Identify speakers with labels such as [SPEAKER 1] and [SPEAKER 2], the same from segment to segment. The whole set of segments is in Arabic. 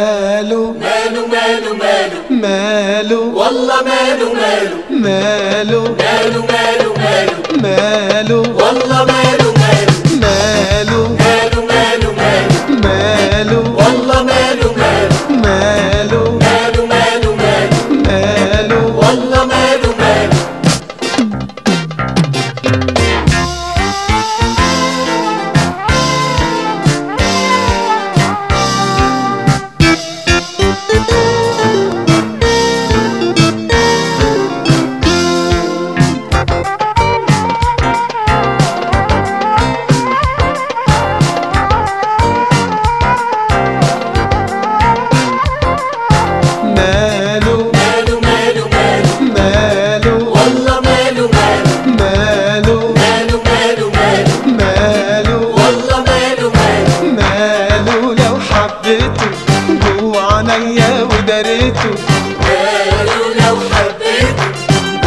[SPEAKER 1] ماله
[SPEAKER 2] ماله ماله ماله
[SPEAKER 1] ماله
[SPEAKER 2] والله ماله ماله
[SPEAKER 1] ماله
[SPEAKER 2] ماله ماله ماله
[SPEAKER 1] ماله
[SPEAKER 2] والله ماله ماله
[SPEAKER 1] ماله
[SPEAKER 2] ماله ماله ماله
[SPEAKER 1] ماله
[SPEAKER 2] والله ماله ماله
[SPEAKER 1] ماله
[SPEAKER 2] ماله ماله ماله
[SPEAKER 1] ماله
[SPEAKER 2] والله ماله ماله
[SPEAKER 1] ماله
[SPEAKER 2] ماله ماله ماله
[SPEAKER 1] ماله
[SPEAKER 2] والله ماله ماله
[SPEAKER 1] ماله
[SPEAKER 2] ماله ماله ماله
[SPEAKER 1] ماله
[SPEAKER 2] والله ماله ماله
[SPEAKER 1] ماله لو حبيته جوع عينيا ودريته
[SPEAKER 2] ماله لو حبيت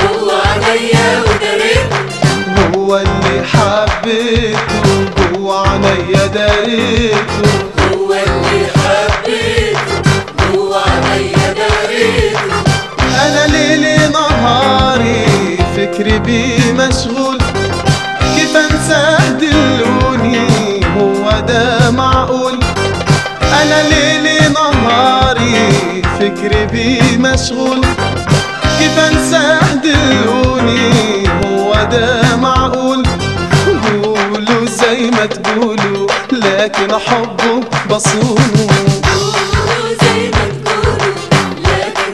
[SPEAKER 2] جوه عينيا ودريت
[SPEAKER 1] هو اللي حبيته جوع عينيا دريته
[SPEAKER 2] هو اللي حبيته جوه عينيا دريت
[SPEAKER 1] انا ليلي نهاري فكري بيه مشغول كيف انساه دلوني هو ده معقول انا ليلي نهاري فكري بيه مشغول كيف انساه دلوني هو ده معقول قولوا زي ما تقولوا لكن حبه بصونه
[SPEAKER 2] قولوا زي ما تقولوا لكن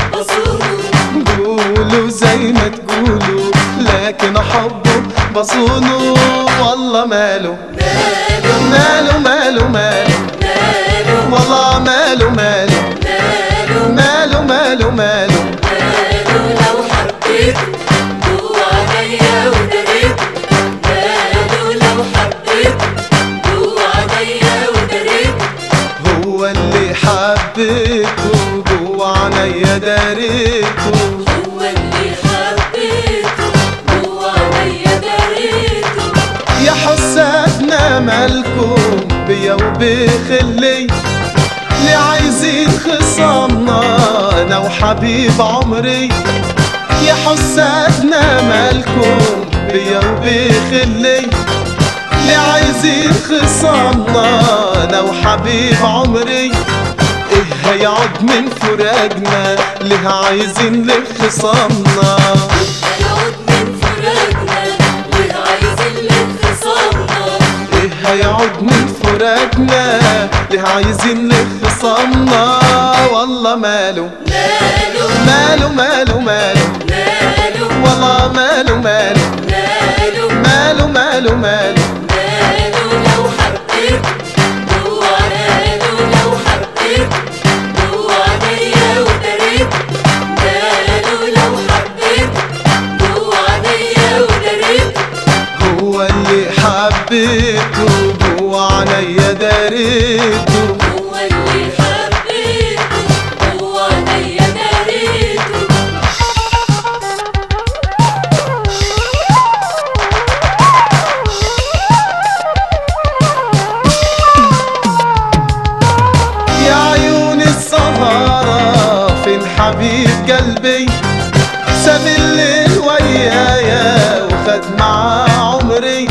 [SPEAKER 2] حبه بصوله
[SPEAKER 1] قولوا زي ما تقولوا لكن حبه بصونه والله ماله ماله ماله ماله والله ماله ماله ماله ماله ماله
[SPEAKER 2] قالوا لو حبيته جوه عينيا ودريته قالوا لو حبيته جوه عينيا ودريته
[SPEAKER 1] هو اللي حبيته جوه عينيا داريته
[SPEAKER 2] هو اللي حبيته جوه عينيا دريته
[SPEAKER 1] يا حسادنا مالكم بيا وبخلي ليه عايزين خصامنا انا وحبيب عمري يا حسادنا مالكم بيا وبخلي ليه عايزين خصامنا انا وحبيب عمري ايه هيقعد من فراقنا ليه عايزين لخصامنا
[SPEAKER 2] هيقعد من فراقنا ليه عايزين لانفصالنا
[SPEAKER 1] ليه هيقعد من فراقنا ليه عايزين لخصامنا والله ماله
[SPEAKER 2] قالوا
[SPEAKER 1] ماله ماله ماله
[SPEAKER 2] قالوا
[SPEAKER 1] والله ماله ماله
[SPEAKER 2] قالوا
[SPEAKER 1] ماله ماله ماله
[SPEAKER 2] قالوا لو حبيت جوه قالوا لو حبيت جوه عينيا ودريت قالوا لو حبيت جوه عينيا ودريت
[SPEAKER 1] هو اللي حبيته جوه عينيا داريته
[SPEAKER 2] هو اللي حبيته جوه عينيا دريته
[SPEAKER 1] يا عيون السهرة فين حبيب قلبي ساب الليل ويايا وخد معاه عمري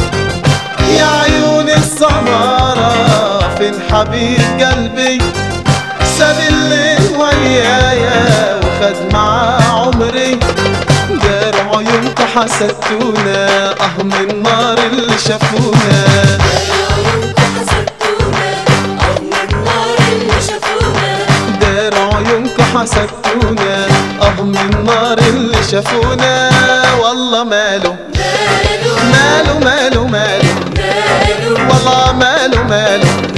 [SPEAKER 1] يا عيون السهرة فين حبيب قلبي ساب الليل ويايا وخد معاه عمري دار عيونك حسدتونا اه من نار اللي شافونا
[SPEAKER 2] عيونكم حسدتونا
[SPEAKER 1] دار عيونك حسدتونا اه
[SPEAKER 2] أو من النار اللي شافونا
[SPEAKER 1] من النار اللي شافونا والله ماله
[SPEAKER 2] قالوا
[SPEAKER 1] ماله ماله ماله
[SPEAKER 2] قالوا
[SPEAKER 1] والله ماله ماله